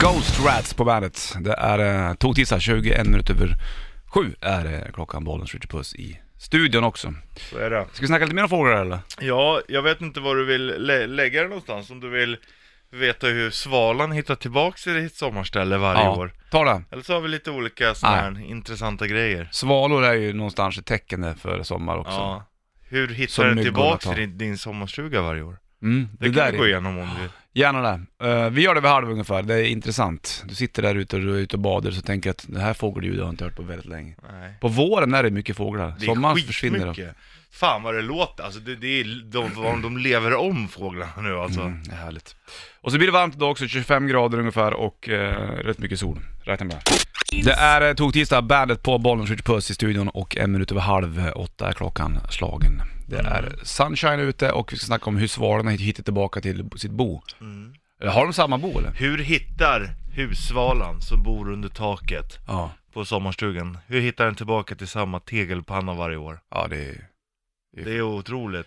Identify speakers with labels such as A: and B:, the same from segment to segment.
A: Ghost Rats på bandet. Det är eh, tog-tisdag, 21 minuter över sju är det klockan. Bollens Richard Puss i studion också.
B: Så är det.
A: Ska vi snacka lite mer om fåglar eller?
B: Ja, jag vet inte var du vill lä lägga det någonstans, om du vill veta hur svalan hittar tillbaks till sitt sommarställe varje år.
A: ta det.
B: Eller så har vi lite olika såna här intressanta grejer.
A: Svalor är ju någonstans ett tecken där för sommar också.
B: Ja. Hur hittar
A: Som
B: den
A: myggorna
B: tillbaks
A: tar.
B: till din, din sommarstuga varje år?
A: Mm,
B: Det, kan vi gå igenom om du vill.
A: Gärna det. Eh, vi gör det vid halv ungefär, det är intressant. Du sitter där ute och du är ute och badar så tänker jag att det här fågelljudet har jag inte hört på väldigt länge.
B: Nej.
A: På våren är det mycket fåglar.
B: Det är
A: Sommaren
B: skitmycket.
A: Ah, försvinner de.
B: Fan vad det låter, alltså det, det är, de, de, de lever om fåglarna nu alltså.
A: Mm, det är härligt. Och så blir det varmt idag också, 25 grader ungefär och eh, rätt mycket sol. Räkna med det. Det är eh, tog-tisdag, bandet på bollen skjuter puss i studion och en minut över halv eh, åtta är klockan slagen. Det är sunshine ute och vi ska snacka om hur svalarna hit- hittar tillbaka till sitt bo. Eller Har de samma bo eller?
B: Mm. Hur hittar hussvalan som bor under taket
A: Ja,
B: på sommarstugan, hur hittar den tillbaka till samma tegelpanna varje år?
A: ja det är
B: Det är otroligt.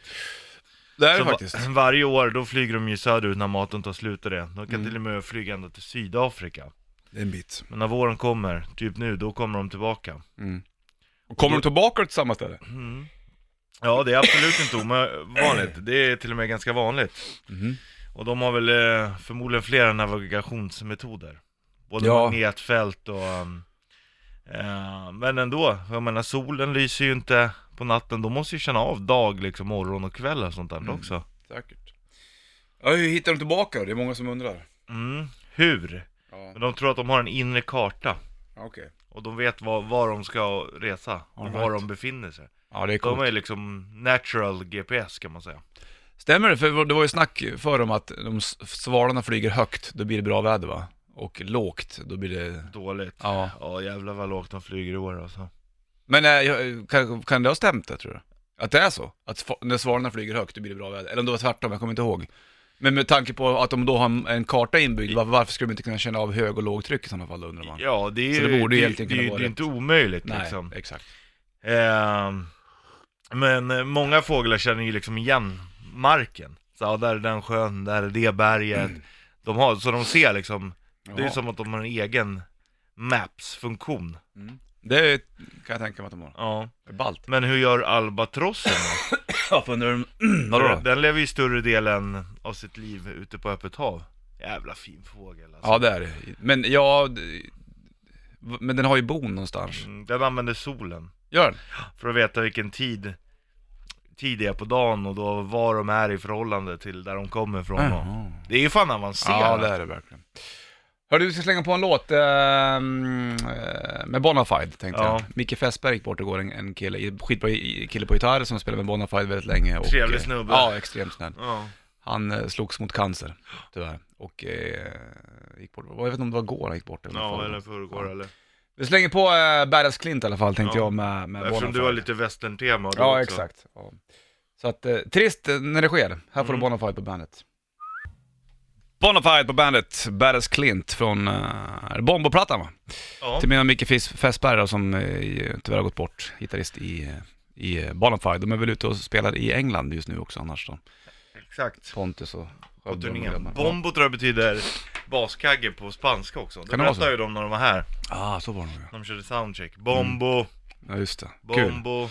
A: det är
B: Så va- varje år, då flyger de ju söderut när maten tar slut och det. De kan till och med flyga ända till Sydafrika.
A: Det är en bit.
B: Men när våren kommer, typ nu, då kommer de tillbaka.
A: Mm. Kommer de tillbaka till samma ställe?
B: Ja, det är absolut inte ovanligt. Det är till och med ganska vanligt.
A: Mhm.
B: Och de har väl eh, förmodligen flera navigationsmetoder. Både
A: Ja.
B: magnetfält och... ehm, eh, men ändå, jag menar solen lyser ju inte på natten. De måste ju känna av dag, liksom morgon och kväll och sånt där också.
A: Säkert. Ja, hur hittar de tillbaka då? Det är många som undrar.
B: Mm. Hur?
A: Ja,
B: Men de tror att de har en inre karta.
A: ja, okej.
B: Och de vet var, var de ska resa och
A: All
B: var
A: right.
B: de befinner sig.
A: Ja, det är coolt.
B: De är liksom natural GPS kan man säga.
A: Stämmer det? För det var ju snack för om att de s- svalarna flyger högt, då blir det bra väder va? Och lågt, då blir det...
B: Dåligt.
A: Ja.
B: Ja jävlar vad lågt de flyger i år alltså.
A: Men eh, jag- kan, kan det ha stämt det tror du? Att det är så? Att sva- när svalarna flyger högt, då blir det bra väder? Eller om det var tvärtom, jag kommer inte ihåg. Men med tanke på att de då har en- en karta inbyggd, var, varför skulle de inte kunna känna av hög och lågtryck i sådana fall, undrar man?
B: Ja det är
A: Så
B: ju,
A: det borde ju
B: det,
A: egentligen
B: det,
A: kunna
B: det,
A: vara
B: är ju
A: rätt.
B: inte omöjligt
A: Nej,
B: liksom.
A: exakt.
B: Ehm, men eh, många fåglar känner ju liksom igen marken. Så ja, där är den sjön, där är det berget. De har, så de ser liksom, det är
A: Jaha.
B: som att de har en egen maps-funktion.
A: Det kan jag tänka mig att de har.
B: Ja.
A: Ballt.
B: Men hur gör albatrossen då?
A: Ja, för undrar de... Vadå
B: Den,
A: då?
B: den lever ju större delen av sitt liv ute på öppet hav. Jävla fin fågel alltså.
A: Ja, det är det. Men ja... d- Men den har ju bon någonstans.
B: Mm, Den använder solen
A: Gör den?
B: för att veta vilken tid tid det är på dagen och då var de är i förhållande till där de kommer ifrån.
A: Jaha.
B: Det är ju fan avancerat.
A: Mm. Ja, det är det verkligen. Hörru, vi ska slänga på en låt eh, mm, eh, med Bonafide, tänkte
B: Ja.
A: jag. Micke Fässberg gick bort igår, en, en kille, i- skitbra i- kille på gitarr som spelade med Bonafide väldigt länge. Och,
B: Trevlig
A: eh,
B: snubbe.
A: Ja, extremt snäll.
B: Ja.
A: Han eh, slogs mot cancer, tyvärr. Och eh, gick bort, jag vet inte om det var igår han gick bort. Eller
B: ja,
A: förra.
B: eller förrgår eller.
A: Vi slänger på eh, Badass Clint i alla fall, tänkte
B: Ja.
A: jag, med, med
B: Eftersom
A: Bonafide.
B: du har lite västerntema då
A: Ja,
B: också.
A: exakt. Ja. Så att, eh, trist eh, när det sker. Här
B: Mm.
A: får du Bonafide på bandet. Bonafide på bandet, Badass Clint från uh, Bombo-plattan va?
B: Ja.
A: Till mina Micke Fis- Fässberg då, som eh, tyvärr har gått bort, gitarrist i, eh, i eh, Bonafide. De är väl ute och spelar i England just nu också annars då.
B: Exakt.
A: Pontus och Skövde
B: På
A: och
B: turnén.
A: grabbarna.
B: Bombo tror jag betyder baskagge på spanska också. Det
A: Kan det vara så?
B: berättade ju de när de var här.
A: Ja, ah, så var det nog ja.
B: När de körde soundcheck. Bombo,
A: ja. just det. Mm. Kul.
B: bombo.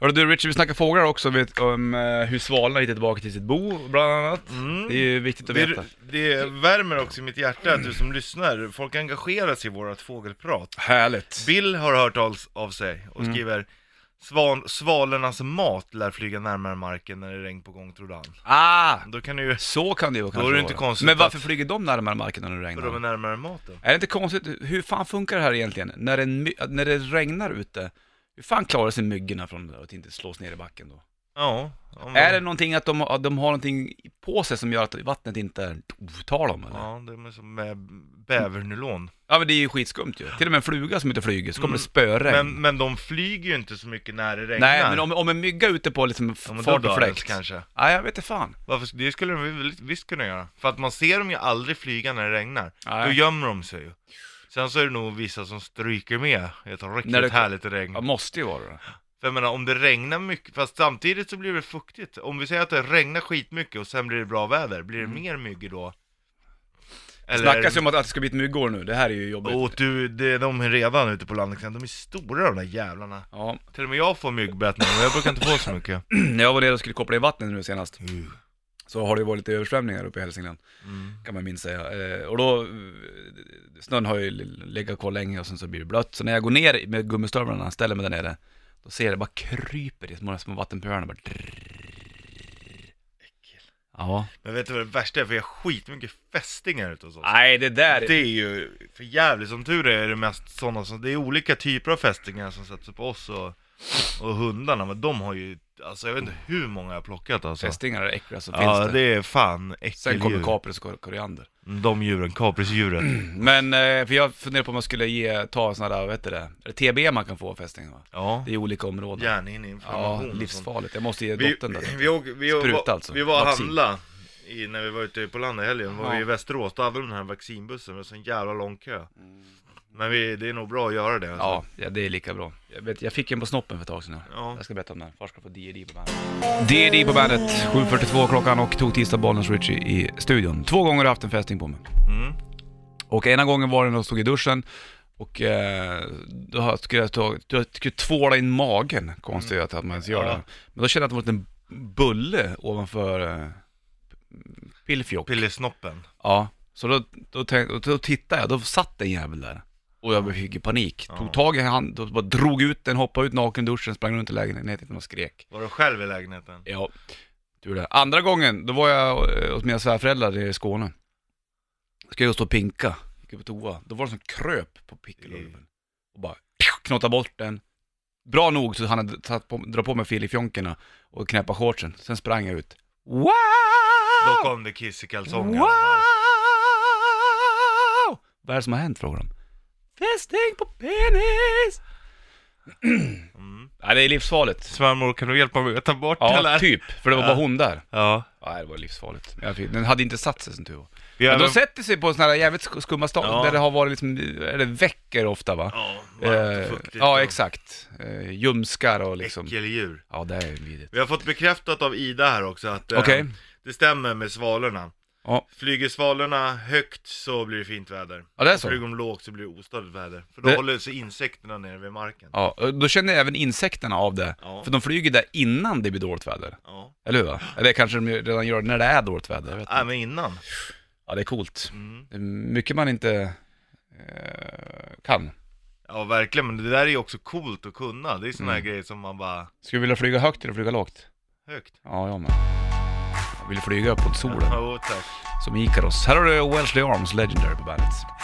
A: Hörru du Richard, vi snackar fåglar också, vet, om eh, hur svalarna hittar tillbaka till sitt bo bland annat.
B: Mm.
A: Det är ju viktigt att veta.
B: Det, det värmer också i mitt hjärta att du som lyssnar, folk engagerar sig i vårat fågelprat.
A: Härligt.
B: Bill har hört av, av sig och
A: Mm.
B: skriver Svan, Svalornas mat lär flyga närmare marken när det är regn på gång, trodde han.
A: Ah!
B: Då kan det ju...
A: Så kan det ju kanske
B: är det inte
A: vara.
B: konstigt
A: Men
B: att-
A: varför flyger de närmare marken när det
B: För
A: regnar?
B: de är närmare maten.
A: Är det inte konstigt, hur fan funkar det här egentligen? När det, my- när det regnar ute, hur fan klarar sig myggorna från att inte slås ner i backen då?
B: Ja. om
A: Är det
B: de-
A: någonting att de, att de har någonting på sig som gör att vattnet inte tar dem eller? Ja.
B: Ja, det är som med bävernylon.
A: men det är ju skitskumt ju. Till och med en fluga som inte flyger, så kommer det spöregn.
B: Mm. Men, men de flyger ju inte så mycket när det regnar.
A: Nej, men om, om en mygga är ute på liksom
B: Ja,
A: fart
B: men då
A: och
B: dör den
A: fläkt.
B: kanske. Mm.
A: Nej, jag vet inte fan.
B: Varför, det skulle de väl visst kunna göra. För att man ser dem ju aldrig flyga när det regnar.
A: Nej.
B: Då gömmer de sig ju. Sen så är det nog vissa som stryker med i ett riktigt
A: När det-
B: härligt regn.
A: Ja, måste ju vara det.
B: För jag menar, om det regnar mycket, fast samtidigt så blir det fuktigt. Om vi säger att det regnar skitmycket och sen blir det bra väder, blir det mer myggor då? Eller, Oh.
A: Snackas ju om att, att Mm. det ska bli ett myggår nu, det här är ju jobbigt.
B: Och du, det är de är redan ute på landet, de är stora de där jävlarna.
A: Ja,
B: Till och med jag får myggbett nu, men jag brukar inte få så mycket.
A: när jag var nere och skulle koppla i vattnet nu senast,
B: Uh.
A: så har det ju varit lite översvämningar uppe i Hälsingland,
B: Mm.
A: kan man minst säga. Eh, och då, eh, snön har ju legat kvar länge och sen så blir det blött. Så när jag går ner med gummistövlarna, ställer mig där nere, då ser jag det bara kryper i små, små vattenpölar bara drrrr. Ja.
B: Men vet du vad det värsta är? För jag har skitmycket fästingar ute hos oss.
A: Nej, det där
B: Det är ju för jävligt som tur är, är det mest sådana som, det är olika typer av fästingar som sätts på oss och, och hundarna, men de har ju, alltså jag vet inte hur många jag har plockat alltså.
A: Fästingar är det äckligaste som
B: ja,
A: finns
B: det.
A: där.
B: är fan
A: Sen kommer
B: äckeldjur. Mm,
A: kapris och koriander.
B: De djuren, kaprisdjuren.
A: Men, eh, för jag funderar på om jag skulle ge, ta sådana där, vad heter det? Är det TB man kan få av fästingar va?
B: Ja,
A: Det är olika områden. Ja,
B: hjärnhinneinflammation. och sånt.
A: livsfarligt. Jag måste ge
B: Vi,
A: dottern det.
B: vi, åker, vi,
A: Spruta
B: var,
A: alltså.
B: vi var och
A: Vaccin.
B: handla i, när vi var ute på landet i helgen, var
A: Ja.
B: vi i Västerås, då hade de den här vaccinbussen, med så en jävla lång kö.
A: Mm.
B: Men vi, det är nog bra att göra det. Alltså.
A: Ja, ja, det är lika bra. Jag, vet, jag fick en på snoppen för ett tag sedan.
B: Ja.
A: Jag ska berätta om den. Först ska få D&D på bandet. D&D på bandet, 7.42 klockan och tog tisdag Bollnäs Richie i studion. Två gånger har jag haft en fästing på mig.
B: Mm.
A: Och ena gången var det när jag stod i duschen och eh, då har- skulle jag, ta, då skulle jag tvåla in magen, konstigt att man ens gör
B: Mm. Ja.
A: det. Men då kände jag att det var en liten bulle ovanför eh, pillfjock.
B: Pillesnoppen.
A: Ja, så då, då, tänk, då, då tittade jag, då satt en jävel där. Och jag fick i panik. Tog tag i han, då bara drog ut den, hoppade ut naken i duschen, sprang runt i lägenheten och skrek.
B: Var du själv i lägenheten?
A: Ja, tur det. Andra gången, då var jag eh, hos mina svärföräldrar i Skåne. Ska jag stå och pinka, gick jag på toa. Då var det som kröp på
B: Mm.
A: pickelulven. Och bara knottade bort den. Bra nog så han hade tagit på, dra på mig filifjonkerna och knäppa shortsen. Sen sprang jag ut. Wow!
B: Då kom det kiss i kalsongerna.
A: Wow! Vad är det som har hänt frågar de. Fästing på penis!
B: Mm.
A: Nej det är livsfarligt.
B: Svärmor, kan du hjälpa mig att ta bort det
A: Ja,
B: här?
A: typ. För det var bara hon där.
B: Ja.
A: Nej det var livsfarligt. Jag fick- Den hade inte satt sig som tur var.
B: Vi
A: Men de
B: även-
A: sätter sig på sådana här jävligt sk- skumma ställen
B: Ja.
A: där det har varit liksom, eller veckor ofta va?
B: Ja, varmt och
A: Eh,
B: fuktigt.
A: ja
B: och
A: exakt. Eh, ljumskar och liksom.
B: Äckeldjur.
A: Ja det är vidrigt.
B: Vi har fått bekräftat av Ida här också att eh,
A: Okej.
B: det stämmer med svalorna.
A: Ja.
B: Flyger svalorna högt så blir det fint väder.
A: Ja det är så.
B: Flyger de lågt så blir det ostadigt väder. För då
A: Det-
B: håller sig insekterna nere vid marken.
A: Ja, och då känner även insekterna av det.
B: Ja.
A: För de flyger där innan det blir dåligt väder.
B: Ja.
A: Eller hur? va? Eller kanske de redan gör det när det är dåligt väder. Jag vet
B: Nej
A: inte.
B: men innan.
A: Ja, det är coolt.
B: Mm.
A: Det är mycket man inte eh, kan.
B: Ja verkligen, men det där är ju också coolt att kunna. Det är såna här
A: Mm.
B: grejer som man bara,
A: Skulle du vilja flyga högt eller flyga lågt?
B: högt.
A: Ja, jag med. Jag vill flyga uppåt solen,
B: Ja, tack.
A: som Ikaros. Här har du Wellesley Arms, Legendary på bandet.